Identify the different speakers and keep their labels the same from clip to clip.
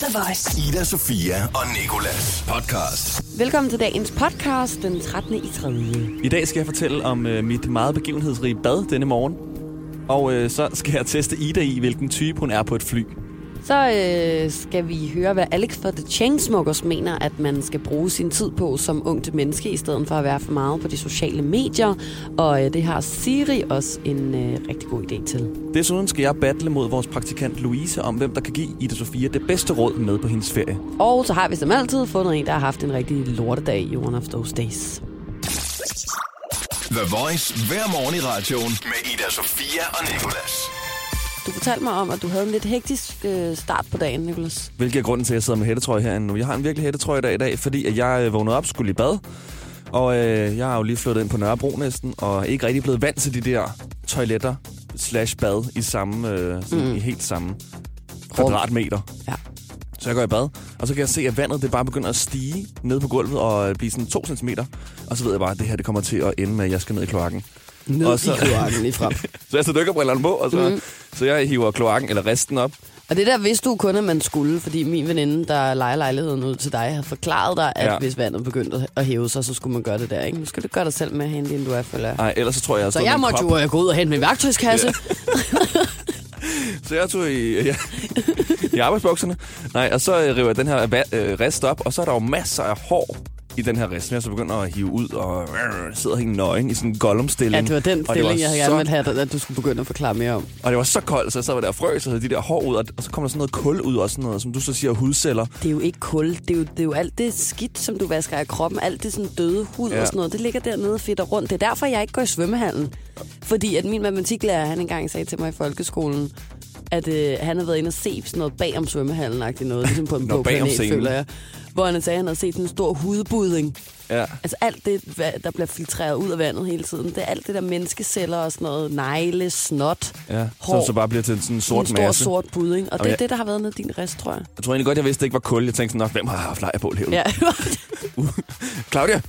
Speaker 1: The Voice.
Speaker 2: Ida, Sofia og Nikolas podcast.
Speaker 3: Velkommen til dagens podcast, den 13. i 3.
Speaker 4: I dag skal jeg fortælle om øh, mit meget begivenhedsrige bad denne morgen. Og øh, så skal jeg teste Ida i, hvilken type hun er på et fly.
Speaker 3: Så øh, skal vi høre, hvad Alex fra The Chainsmokers mener, at man skal bruge sin tid på som ungt menneske, i stedet for at være for meget på de sociale medier. Og øh, det har Siri også en øh, rigtig god idé til.
Speaker 4: Desuden skal jeg battle mod vores praktikant Louise om, hvem der kan give Ida Sofia det bedste råd med på hendes ferie.
Speaker 3: Og så har vi som altid fundet en, der har haft en rigtig lortedag i One of Those Days.
Speaker 2: The Voice hver morgen i radioen med Ida, Sofia og Nikolas.
Speaker 3: Du fortalte mig om, at du havde en lidt hektisk øh, start på dagen, Nicolas.
Speaker 4: Hvilket er grunden til, at jeg sidder med hættetrøje herinde nu. Jeg har en virkelig hættetrøje i dag, i dag fordi at jeg øh, vågnede op, skulle i bad. Og øh, jeg er jo lige flyttet ind på Nørrebro næsten, og ikke rigtig blevet vant til de der toiletter slash bad i samme, øh, sådan, mm. i helt samme kvadratmeter.
Speaker 3: Ja.
Speaker 4: Så jeg går i bad, og så kan jeg se, at vandet det bare begynder at stige ned på gulvet og øh, blive sådan 2 cm. Og så ved jeg bare, at det her det kommer til at ende med, at jeg skal ned i kloakken.
Speaker 3: Ned
Speaker 4: Og så-
Speaker 3: i kloakken lige frem.
Speaker 4: Så jeg tager dykkerbrillerne på, og så, mm. så jeg hiver kloakken eller resten op.
Speaker 3: Og det der vidste du kun, at man skulle, fordi min veninde, der leger lejligheden ud til dig, har forklaret dig, at ja.
Speaker 4: Ja.
Speaker 3: hvis vandet begyndte at hæve sig, så skulle man gøre det der. Ikke? Nu skal du gøre dig selv med at hente, inden du er følger.
Speaker 4: Nej, ellers Ah, så tror jeg, jeg har
Speaker 3: Så
Speaker 4: stået med
Speaker 3: jeg
Speaker 4: en
Speaker 3: måtte
Speaker 4: kop.
Speaker 3: jo øh, gå ud og hente min værktøjskasse. Ja.
Speaker 4: Så jeg tog i, ja, i arbejdsbukserne. Nej, og så øh, river jeg den her va- øh, rest op, og så er der jo masser af hår i den her rest, som jeg så begynder at hive ud og øh, sidder helt nøgen i sådan en gollum-stilling.
Speaker 3: ja, det var den
Speaker 4: og det var
Speaker 3: stilling, jeg havde
Speaker 4: så,
Speaker 3: gerne ville have, at du skulle begynde at forklare mere om.
Speaker 4: Og det var så koldt, så jeg sad der og frøs, og havde de der hår ud, og, og så kom der sådan noget kul ud og sådan noget, som du så siger, hudceller.
Speaker 3: Det er jo ikke kul. Det er jo, det er jo alt det skidt, som du vasker af kroppen. Alt det sådan døde hud ja.
Speaker 4: Ja.
Speaker 3: og sådan noget. Det ligger dernede og fedter rundt. Det er derfor, jeg ikke går i svømmehallen. Fordi at min matematiklærer, han engang sagde til mig i folkeskolen, at øh, han havde været inde og se sådan noget bag om svømmehallen noget, ligesom på en
Speaker 4: Nå,
Speaker 3: blå
Speaker 4: bag om
Speaker 3: planet,
Speaker 4: scenen.
Speaker 3: føler jeg. Hvor han sagde, at han havde set sådan en stor hudbudding.
Speaker 4: Ja.
Speaker 3: Altså alt det, hvad- der bliver filtreret ud af vandet hele tiden, det er alt det der menneskeceller og sådan noget, negle, snot,
Speaker 4: Ja,
Speaker 3: hår.
Speaker 4: som så bare bliver til sådan en
Speaker 3: en
Speaker 4: sort
Speaker 3: stor
Speaker 4: masse.
Speaker 3: sort budding. Og det er
Speaker 4: jeg-
Speaker 3: det, der har været nede i din rest, tror jeg.
Speaker 4: Jeg tror egentlig godt, jeg vidste, det ikke var kul. Jeg tænkte sådan, nok, hvem har haft lejebål herude?
Speaker 3: Ja.
Speaker 4: Claudia!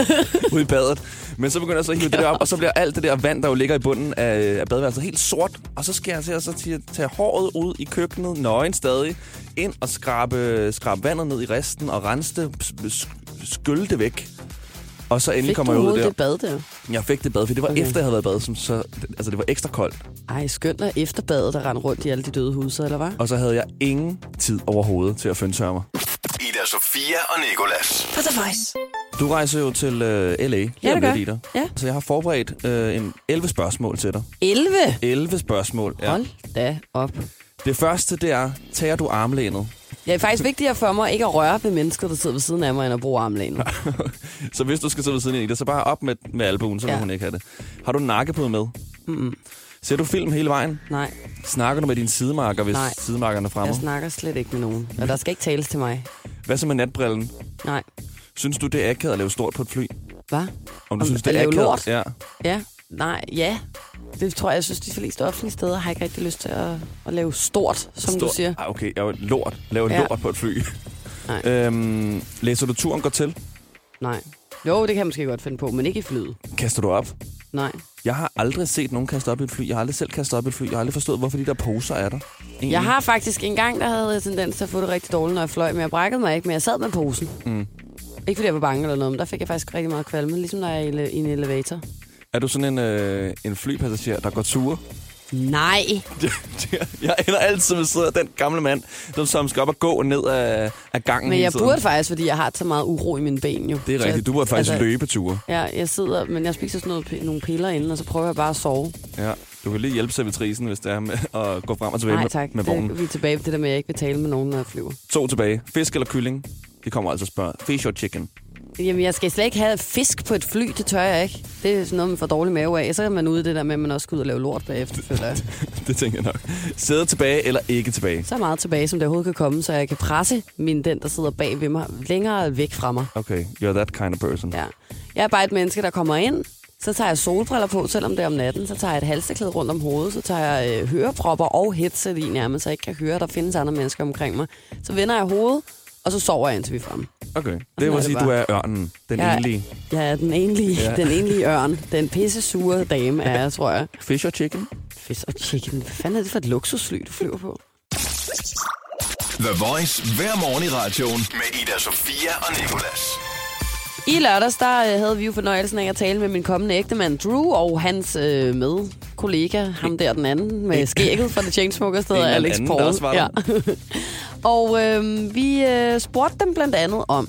Speaker 4: Ude i badet. Men så begynder jeg så at hive det der op, og så bliver alt det der vand, der jo ligger i bunden af, af badeværelset, helt sort. Og så skal jeg til at så tage, tage håret ud i køkkenet, nøgen stadig, ind og skrabe, skrabe vandet ned i resten og rense det, s- s- skylle det væk. Og så endelig
Speaker 3: Fik
Speaker 4: kommer
Speaker 3: du
Speaker 4: jeg ud
Speaker 3: overhovedet
Speaker 4: der.
Speaker 3: det bad der?
Speaker 4: Jeg fik det bad, for det var
Speaker 3: Okay.
Speaker 4: okay. efter, jeg havde været i bad, som så, altså det var ekstra koldt.
Speaker 3: Ej, skønt at efterbadet der rende rundt i alle de døde huse, eller hvad?
Speaker 4: Og så havde jeg ingen tid overhovedet til at føntørre mig.
Speaker 2: Ida, Sofia og Nikolas.
Speaker 1: På The Voice.
Speaker 4: Du rejser jo til øh, L.A. lige
Speaker 3: Ja,
Speaker 4: om
Speaker 3: det gør
Speaker 4: lidt, Ida.
Speaker 3: Ja.
Speaker 4: Så jeg har forberedt øh, en 11 spørgsmål til dig.
Speaker 3: 11?
Speaker 4: 11 spørgsmål.
Speaker 3: Ja. Hold da op.
Speaker 4: Det første, det er, tager du armlænet?
Speaker 3: Det er faktisk vigtigere for mig ikke at røre ved mennesker, der sidder ved siden af mig, end at bruge armlænet.
Speaker 4: så hvis du skal sidde ved siden af Ida, så bare op med, med albuen, så vil
Speaker 3: Ja.
Speaker 4: hun ikke have det. Har du nakkepude med? Mm-mm. Ser du film hele vejen?
Speaker 3: Nej,
Speaker 4: Snakker du med dine sidemarker, hvis
Speaker 3: Nej.
Speaker 4: sidemarkerne er fremme?
Speaker 3: jeg snakker slet ikke med nogen. Og der skal ikke tales til mig.
Speaker 4: Hvad så med natbrillen?
Speaker 3: Nej.
Speaker 4: Synes du, det er akavet at lave stort på et fly?
Speaker 3: Hvad?
Speaker 4: Om
Speaker 3: Om
Speaker 4: du synes,
Speaker 3: at
Speaker 4: det er
Speaker 3: lave
Speaker 4: akavet?
Speaker 3: lort?
Speaker 4: Ja.
Speaker 3: Ja. Nej, ja. Det tror jeg, jeg synes, de fleste offentlige steder har ikke rigtig lyst til at, at lave stort, som stort. du
Speaker 4: Stort.
Speaker 3: siger.
Speaker 4: Ah, okay, jeg er jo lort. Laver
Speaker 3: Ja.
Speaker 4: ja. lort på et fly.
Speaker 3: Nej.
Speaker 4: øhm, læser du turen går til?
Speaker 3: Nej. Jo, det kan jeg måske godt finde på, men ikke i flyet.
Speaker 4: Kaster du op?
Speaker 3: Nej.
Speaker 4: Jeg har aldrig set nogen kaste op i et fly. Jeg har aldrig selv kastet op i et fly. Jeg har aldrig forstået, hvorfor de der poser er der. Egentlig.
Speaker 3: Jeg har faktisk en gang, der havde jeg tendens til at få det rigtig dårligt, når jeg fløj, men jeg brækkede mig ikke, men jeg sad med posen. Mm. Ikke fordi jeg var bange eller noget, men der fik jeg faktisk rigtig meget kvalme, ligesom når jeg er i ele- i en elevator.
Speaker 4: Er du sådan en, øh, en flypassager, der går ture?
Speaker 3: Nej,
Speaker 4: jeg ender altid ved siden af den gamle mand, der som skal op og gå ned af, af gangen
Speaker 3: men
Speaker 4: hele
Speaker 3: jeg
Speaker 4: tiden.
Speaker 3: burde faktisk, fordi jeg har så meget uro i mine ben jo.
Speaker 4: Mm, Det er
Speaker 3: Så
Speaker 4: rigtigt. Du burde faktisk
Speaker 3: altså,
Speaker 4: altså... løbeture.
Speaker 3: Ja, jeg sidder, men jeg spiser sådan noget, p- nogle piller inden, og så prøver jeg bare at sove.
Speaker 4: Ja. Du kan lige hjælpe servitrisen, hvis det er med at gå frem og tilbage
Speaker 3: Nej
Speaker 4: med,
Speaker 3: tak,
Speaker 4: med vognen.
Speaker 3: det, vi er tilbage på det der med, at jeg ikke vil tale med nogen, når jeg flyver.
Speaker 4: To tilbage. Fisk eller kylling? Det kommer altså at spørge. Fish or chicken?
Speaker 3: Jamen, jeg skal slet ikke have fisk på et fly, det tør jeg ikke. Det er sådan noget, man får dårlig mave af. Så er man ude i det der med, at man også skal ud og lave lort bagefter, føler jeg.
Speaker 4: det tænker jeg nok. Sæde tilbage eller ikke tilbage?
Speaker 3: så meget tilbage, som det overhovedet kan komme, så jeg kan presse min den, der sidder bag ved mig, længere væk fra mig.
Speaker 4: Okay, you're that kind of person.
Speaker 3: Ja. Jeg er bare et menneske, der kommer ind, så tager jeg solbriller på, selvom det er om natten, så tager jeg et halsteklæde rundt om hovedet, så tager jeg øh, hørepropper og headset i nærmest, så jeg ikke kan høre, at der findes andre mennesker omkring mig. Så vender jeg hovedet, og så sover jeg, indtil vi er fremme.
Speaker 4: Okay,
Speaker 3: er
Speaker 4: det vil
Speaker 3: det
Speaker 4: sige,
Speaker 3: bare.
Speaker 4: du er ørnen. Den
Speaker 3: Jeg,
Speaker 4: egentlige.
Speaker 3: jeg er den enlige, ja.
Speaker 4: Ja.
Speaker 3: den enlige ørn. Den pisse sure dame er jeg, tror jeg.
Speaker 4: Fish or chicken?
Speaker 3: Fisk og chicken. Hvad fanden er det for et luksusfly, du flyver på?
Speaker 2: The Voice hver morgen i radioen med Ida Sofia og Nicolas.
Speaker 3: I lørdags der øh, havde vi jo fornøjelsen af at tale med min kommende ægtemand Drew og hans øh, med kollega, ham der den anden med skægget fra The Chainsmokers, der
Speaker 4: En
Speaker 3: hedder
Speaker 4: eller
Speaker 3: Alex
Speaker 4: anden, der
Speaker 3: Paul.
Speaker 4: også var der.
Speaker 3: og øh, vi øh, spurgte dem blandt andet om,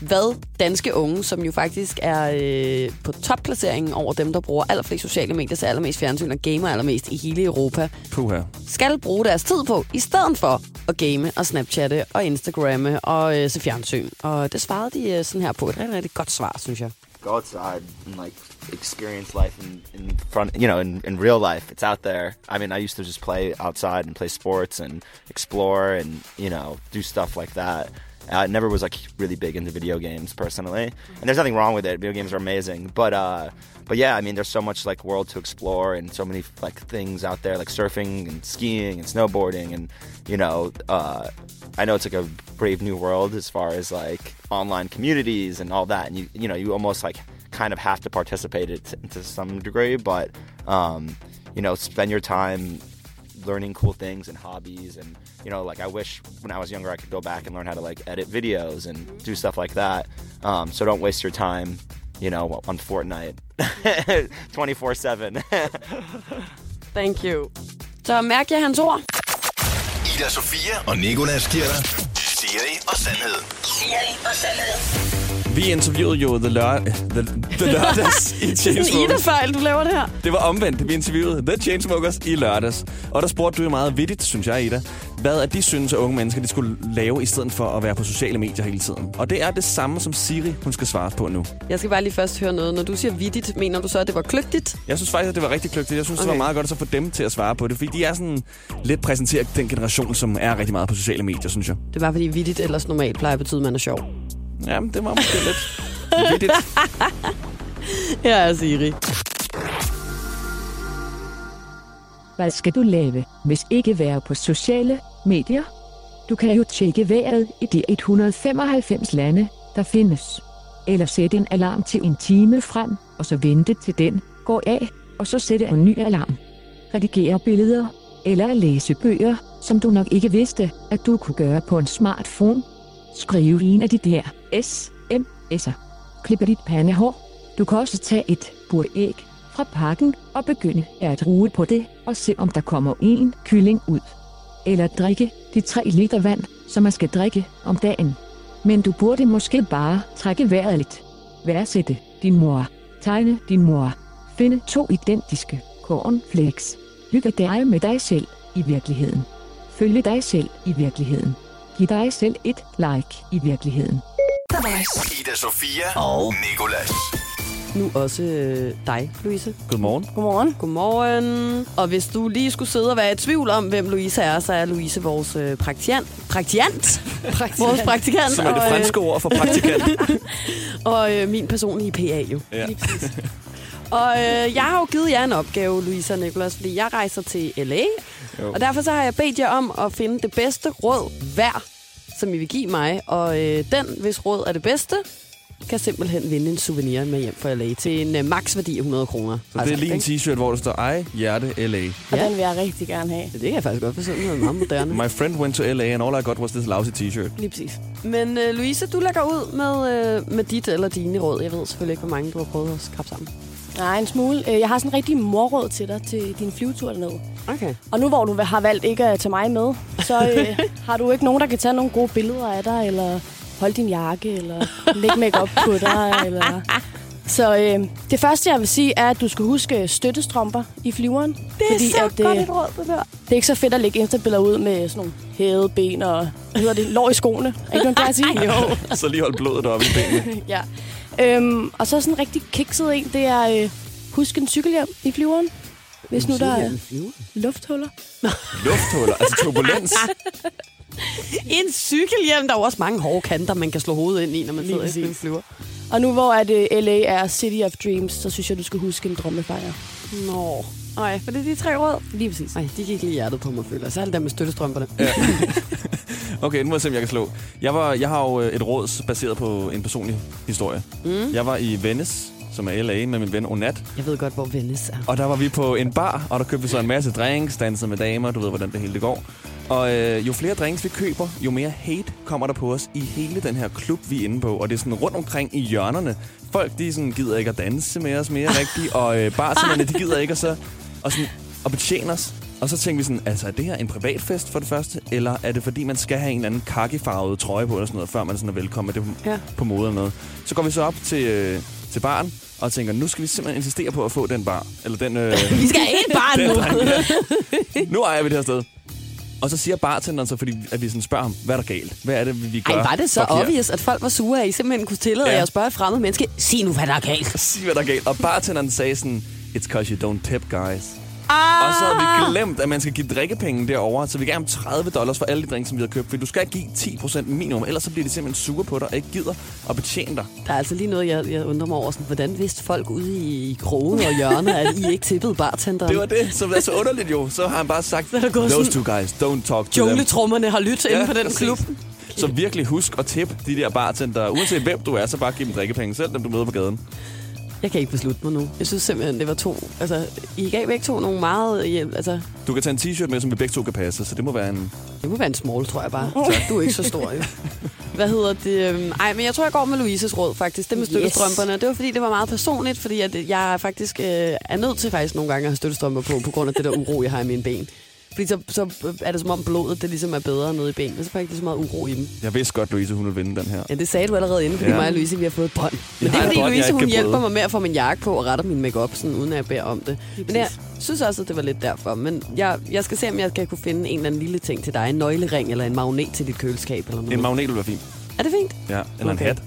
Speaker 3: hvad danske unge, som jo faktisk er øh, på topplaceringen over dem, der bruger allerflest sociale medier, ser allermest fjernsyn og gamer allermest i hele Europa,
Speaker 4: Puh her.
Speaker 3: skal bruge deres tid på, i stedet for at game og snapchatte og instagramme og øh, se fjernsyn. Og det svarede de øh, sådan her på. Et rigtig, rigtig godt svar, synes jeg.
Speaker 1: go outside and like experience life in, in front you know in, in real life it's out there i mean i used to just play outside and play sports and explore and you know do stuff like that i never was like really big into video games personally and there's nothing wrong with it video games are amazing but uh but yeah i mean there's so much like world to explore and so many like things out there like surfing and skiing and snowboarding and you know uh I know it's like a brave new world as far as like online communities and all that, and you you know you almost like kind of have to participate it to, to some degree, but um, you know spend your time learning cool things and hobbies and you know like I wish when I was younger I could go back and learn how to like edit videos and do stuff like that. Um, so don't waste your time, you know, on Fortnite twenty four seven.
Speaker 3: Thank you. Så mærk jeg hans ord.
Speaker 2: Ida Sofia og Nicolas giver dig Siri og sandhed.
Speaker 4: Vi interviewede jo The, lør the, the Lørdags i
Speaker 3: En
Speaker 4: Chainsmokers.
Speaker 3: Ida-fejl, du laver det her.
Speaker 4: Det var omvendt. Vi interviewede The Chainsmokers i lørdags. Og der spurgte du jo meget vittigt, synes jeg, Ida, hvad at de synes, at unge mennesker de skulle lave, i stedet for at være på sociale medier hele tiden. Og det er det samme, som Siri hun skal svare på nu.
Speaker 3: Jeg skal bare lige først høre noget. Når du siger vittigt, mener du så, at det var kløgtigt?
Speaker 4: Jeg synes faktisk, at det var rigtig kløgtigt. Jeg synes, okay. det
Speaker 3: Okay.
Speaker 4: var meget godt at så få dem til at svare på det, fordi de er sådan lidt præsenteret den generation, som er rigtig meget på sociale medier, synes jeg.
Speaker 3: Det var fordi vittigt ellers normalt plejer at betyde, at man er sjov.
Speaker 4: Jamen, det var måske lidt vittigt.
Speaker 3: Her er Siri.
Speaker 5: Hvad skal du lave, hvis ikke være på sociale medier? Du kan jo tjekke vejret i de 195 lande, der findes. Eller sætte en alarm til en time frem, og så vente til den går af, og så sætte en ny alarm. Redigere billeder, eller læse bøger, som du nok ikke vidste, at du kunne gøre på en smartphone. Skrive en af de der SMS'er. Klippe dit pandehår. Du kan også tage et buræg fra pakken og begynde at ruge på det og se om der kommer en kylling ud. Eller drikke de 3 liter vand, som man skal drikke om dagen. Men du burde måske bare trække vejret lidt. Værdsætte din mor. Tegne din mor. Finde to identiske cornflakes. Hygge dig med dig selv i virkeligheden. Følge dig selv i virkeligheden. Giv dig selv et like i virkeligheden.
Speaker 2: Ida Sofia og Nicolas.
Speaker 3: Nu også øh, dig, Louise.
Speaker 4: Godmorgen.
Speaker 3: Godmorgen. Godmorgen. Og hvis du lige skulle sidde og være i tvivl om, hvem Louise er, så er Louise vores øh, praktikant. Praktikant? praktikant. Vores praktikant.
Speaker 4: Som er det
Speaker 3: og, øh,
Speaker 4: franske ord for praktikant.
Speaker 3: Og øh, min personlige PA jo.
Speaker 4: Ja.
Speaker 3: Og øh, jeg har jo givet jer en opgave, Louise og Nicolas, fordi jeg rejser til LA. Jo. Og derfor så har jeg bedt jer om at finde det bedste råd hver, som I vil give mig. Og øh, den, hvis råd er det bedste, kan simpelthen vinde en souvenir med hjem fra LA til en øh, maksværdi af 100 kroner. Altså,
Speaker 4: Så det er lige en t-shirt, hvor der står, ej, hjerte, LA.
Speaker 6: Og den vil jeg rigtig gerne have.
Speaker 3: Det kan jeg faktisk godt forstå, det er meget moderne.
Speaker 4: My friend went to LA, and all I got was this lousy t-shirt.
Speaker 6: Lige præcis.
Speaker 3: Men øh, Louise, du lægger ud med, øh, med dit eller dine råd. Jeg ved selvfølgelig ikke, hvor mange du har prøvet at skrabe sammen.
Speaker 6: Nej, en smule. Øh, Jeg har sådan en rigtig morråd til dig til din flyvetur dernede.
Speaker 3: Okay.
Speaker 6: Og nu hvor du har valgt ikke at tage mig med, så øh, har du ikke nogen, der kan tage nogle gode billeder af dig, eller holde din jakke, eller lægge makeup på dig. Eller... Så øh, det første, jeg vil sige, er, at du skal huske støttestrømper i flyveren. Det er fordi, så at, godt et råd, det der. Det er ikke så fedt at lægge instabilleder ud med sådan nogle hævede ben og hvad hedder det, lår i skoene. Er ikke nogen, der sige? Jo.
Speaker 4: Så lige holdt blodet op i benene.
Speaker 6: Ja. Øhm, og så sådan en rigtig kikset en, det er, øh, husk en cykelhjelm i flyveren. Hvis nu der er lufthuller.
Speaker 4: Lufthuller, altså turbulens.
Speaker 3: En cykelhjelm, der er jo også mange hårde kanter, man kan slå hovedet ind i, når man
Speaker 6: Lige
Speaker 3: sidder i sådan en
Speaker 6: præcis.
Speaker 3: flyver.
Speaker 6: Og nu hvor at, øh, LA er City of Dreams, så synes jeg, du skal huske en drømmefejr.
Speaker 3: Nå. Nej, for det er de tre råd.
Speaker 6: Lige præcis.
Speaker 3: Nej, de gik lige hjertet på mig, føler jeg. Særligt der med støttestrømperne.
Speaker 4: Okay, nu må jeg se, om jeg kan slå. Jeg, var, jeg har jo øh, et råd baseret på en personlig historie. Mm. Jeg var i Venice, som er LA, med min ven Onat.
Speaker 3: Jeg ved godt, hvor Venice er.
Speaker 4: Og der var vi på en bar, og der købte vi så en masse drinks, dansede med damer, du ved, hvordan det hele det går. Og øh, jo flere drinks vi køber, jo mere hate kommer der på os i hele den her klub, vi er inde på. Og det er sådan rundt omkring i hjørnerne. Folk, de sådan, gider ikke at danse med os mere rigtigt, og øh, bartenderne, de gider ikke at, så, og sådan, at betjene os. Og så tænkte vi sådan, altså er det her en privatfest for det første, eller er det fordi, man skal have en eller anden kakifarvet trøje på, eller sådan noget, før man sådan er velkommen, er det på,
Speaker 3: Ja.
Speaker 4: ja. på mode eller noget. Så går vi så op til, øh, til baren, og tænker, nu skal vi simpelthen insistere på at få den bar, eller den... Øh,
Speaker 3: Vi skal have et barn nu.
Speaker 4: nu ejer vi det her sted. Og så siger bartenderen så, fordi at vi sådan spørger ham, hvad er der galt? Hvad er det, vi gør?
Speaker 3: Ej, var det så
Speaker 4: forkert?"
Speaker 3: obvious, at folk var sure, at I simpelthen kunne tillade
Speaker 4: Ja.
Speaker 3: jer at spørge et fremmed menneske, sig nu, hvad der er galt.
Speaker 4: Sig, hvad der er galt. Og bartenderen sagde sådan, it's cause you don't tip, guys.
Speaker 3: Ah!
Speaker 4: Og så har vi glemt, at man skal give drikkepenge derovre, så vi gav ham 30 dollars for alle de drinks, som vi har købt. For du skal give 10% minimum, ellers så bliver de simpelthen sure på dig og ikke gider at betjene dig.
Speaker 3: Der er altså lige noget, jeg, jeg undrer mig over. Sådan, hvordan vidste folk ude i, i krogen og hjørner, at I ikke tippede bartenderen?
Speaker 4: Det var det, som er så underligt jo. Så har han bare sagt,
Speaker 3: er der gået
Speaker 4: those
Speaker 3: sådan-
Speaker 4: two guys, don't talk to them.
Speaker 3: Jungletrummerne har lyttet ja, inde på den
Speaker 4: præcis.
Speaker 3: klub.
Speaker 4: Så virkelig husk at tippe de der bartender. Uanset hvem du er, så bare giv dem drikkepenge selv, dem du møder på gaden.
Speaker 3: Jeg kan ikke beslutte mig nu. Jeg synes simpelthen, det var to... Altså, I gav væk to nogle meget... hjælp- Altså,
Speaker 4: Du kan tage en t-shirt med, som vi begge to kan passe, så det må være en...
Speaker 3: det må være en small, tror jeg bare. Du er ikke så stor, jo. Hvad hedder det? øhm, Ej, men jeg tror, jeg går med Louises råd, faktisk. Det med støttestrømperne. Yes. Det var, fordi det var meget personligt, fordi at jeg faktisk øh, er nødt til faktisk nogle gange at have støttestrømper på, på grund af det der uro, jeg har i mine ben. Fordi så, så er det som om blodet det ligesom er bedre nede i benene, så får jeg ikke lige så meget uro i dem.
Speaker 4: Jeg vidste godt, Louise, hun ville vinde den her.
Speaker 3: Ja, det sagde du allerede inden, fordi ja.
Speaker 4: Ja.
Speaker 3: mig og Louise, vi har fået et bånd. Men det er
Speaker 4: har et
Speaker 3: fordi
Speaker 4: bånd, jeg
Speaker 3: Louise,
Speaker 4: ikke
Speaker 3: hun
Speaker 4: kan
Speaker 3: hjælper
Speaker 4: bryde.
Speaker 3: mig med at få min jakke på og retter min makeup sådan uden at jeg beder om det. Men jeg synes også, at det var lidt derfor. Men jeg, jeg skal se, om jeg kan kunne finde en eller anden lille ting til dig. En nøglering eller en magnet til dit køleskab eller noget.
Speaker 4: En magnet ville være fint.
Speaker 3: er det fint?
Speaker 4: Ja, eller okay.
Speaker 3: Okay.
Speaker 4: en hat.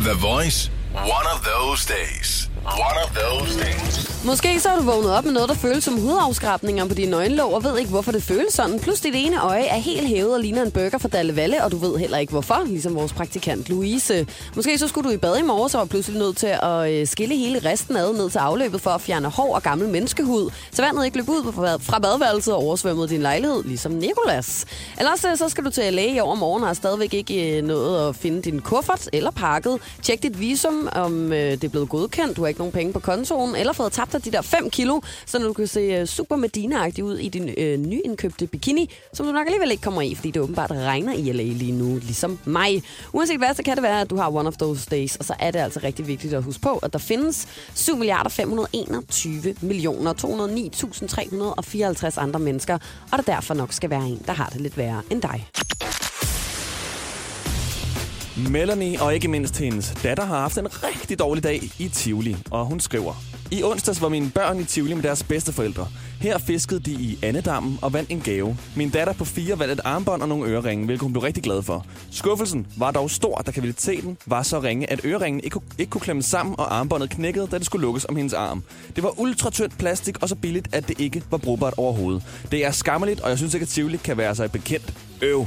Speaker 2: The Voice. One of those days. One of those days.
Speaker 3: Måske så er du vågnet op med noget, der føles som hudafskrabninger på dine nøgenlåg, og ved ikke, hvorfor det føles sådan. Plus dit ene øje er helt hævet og ligner en burger fra Dalle Valle, og du ved heller ikke, hvorfor, ligesom vores praktikant Louise. Måske så skulle du i bad i morges og var pludselig nødt til at øh, skille hele resten ad ned til afløbet for at fjerne hår og gammel menneskehud, så vandet ikke løb ud fra- fra badeværelset og oversvømmede din lejlighed, ligesom Nikolas. Ellers øh, så skal du til læge i overmorgen og har stadigvæk ikke øh, nået at finde din kuffert eller pakket. Tjek dit visum, om øh, det er blevet godkendt, du har ikke nogen penge på kontoen, eller fået tabt dig de der 5 kilo, så du kan se øh, super medina ud i din øh, nyindkøbte bikini, som du nok alligevel ikke kommer i, fordi det åbenbart regner i LA lige nu, ligesom mig. Uanset hvad, så kan det være, at du har one of those days, og så er det altså rigtig vigtigt at huske på, at der findes 7 milliarder 521 millioner 209.354 andre mennesker, og der derfor nok skal være en, der har det lidt værre end dig.
Speaker 4: Melanie og ikke mindst hendes datter har haft en rigtig dårlig dag i Tivoli, og hun skriver... I onsdags var mine børn i Tivoli med deres bedsteforældre. Her fiskede de i andedammen og vandt en gave. Min datter på fire vandt et armbånd og nogle øreringe, hvilket hun blev rigtig glad for. Skuffelsen var dog stor, da kvaliteten var så ringe, at øreringen ikke, ku- ikke kunne klemme sammen, og armbåndet knækkede, da det skulle lukkes om hendes arm. Det var ultratyndt plastik og så billigt, at det ikke var brugbart overhovedet. Det er skammeligt, og jeg synes ikke, at Tivoli kan være sig bekendt. Øv.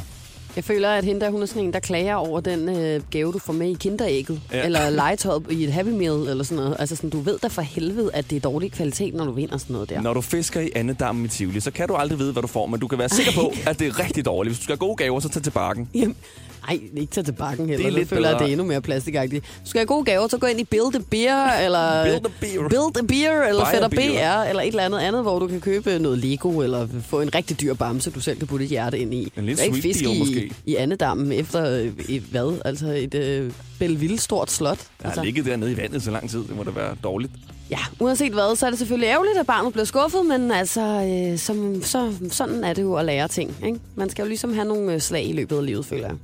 Speaker 3: Jeg føler, at hende der, hun er sådan en, der klager over den øh, gave, du får med i kinderægget. Ja.
Speaker 4: Ja.
Speaker 3: Eller legetøj i et Happy Meal, eller sådan noget. Altså sådan, du ved da for helvede, at det er dårlig kvalitet, når du vinder sådan noget der.
Speaker 4: Når du fisker i andedammen i Tivoli, så kan du aldrig vide, hvad du får, men du kan være sikker på, at det er rigtig dårligt. Hvis du skal have gode gaver, så tag til bakken.
Speaker 3: Jamen, ej, ikke tage til bakken heller.
Speaker 4: Det er
Speaker 3: Det
Speaker 4: lidt
Speaker 3: føler, jeg, at
Speaker 4: bedre.
Speaker 3: det er endnu mere plastikagtigt. Du skal have gode gaver, så gå ind i Build a Beer, eller...
Speaker 4: Build a Beer.
Speaker 3: Build a Beer, eller
Speaker 4: Buy a
Speaker 3: Fætter
Speaker 4: Beer.
Speaker 3: BR, eller et eller andet andet, hvor du kan købe noget Lego, eller få en rigtig dyr bamse, du selv kan putte et hjerte ind i.
Speaker 4: En lille
Speaker 3: Der er ikke
Speaker 4: sweet
Speaker 3: fisk
Speaker 4: deal,
Speaker 3: i,
Speaker 4: måske.
Speaker 3: i andedammen efter øh, et, hvad? Altså et øh, Belleville-stort slot.
Speaker 4: Jeg
Speaker 3: altså.
Speaker 4: har ligget dernede i vandet så lang tid. Det må da være dårligt.
Speaker 3: Ja, uanset hvad, så er det selvfølgelig ærgerligt, at barnet bliver skuffet, men altså, øh, som, så, sådan er det jo at lære ting. Ikke? Man skal jo ligesom have nogle øh, slag i løbet af livet, føler jeg.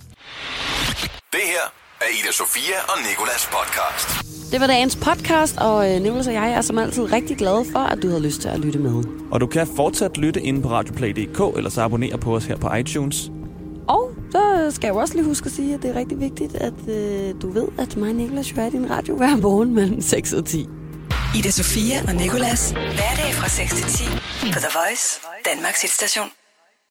Speaker 2: Det her er Ida Sofia og Nikolas podcast.
Speaker 3: Det var dagens podcast, og øh, Nicolas og jeg er som altid rigtig glade for, at du havde lyst til at lytte med.
Speaker 4: Og du kan fortsat lytte inde på radioplay.dk, eller så abonnere på os her på iTunes.
Speaker 3: Og så skal jeg jo også lige huske at sige, at det er rigtig vigtigt, at øh, du ved, at mig og Nicolas jo er i din radio hver morgen mellem 6 og 10.
Speaker 7: Ida Sofia og Nicolas. Hverdag fra 6 til 10 på The Voice, Danmarks hitstation.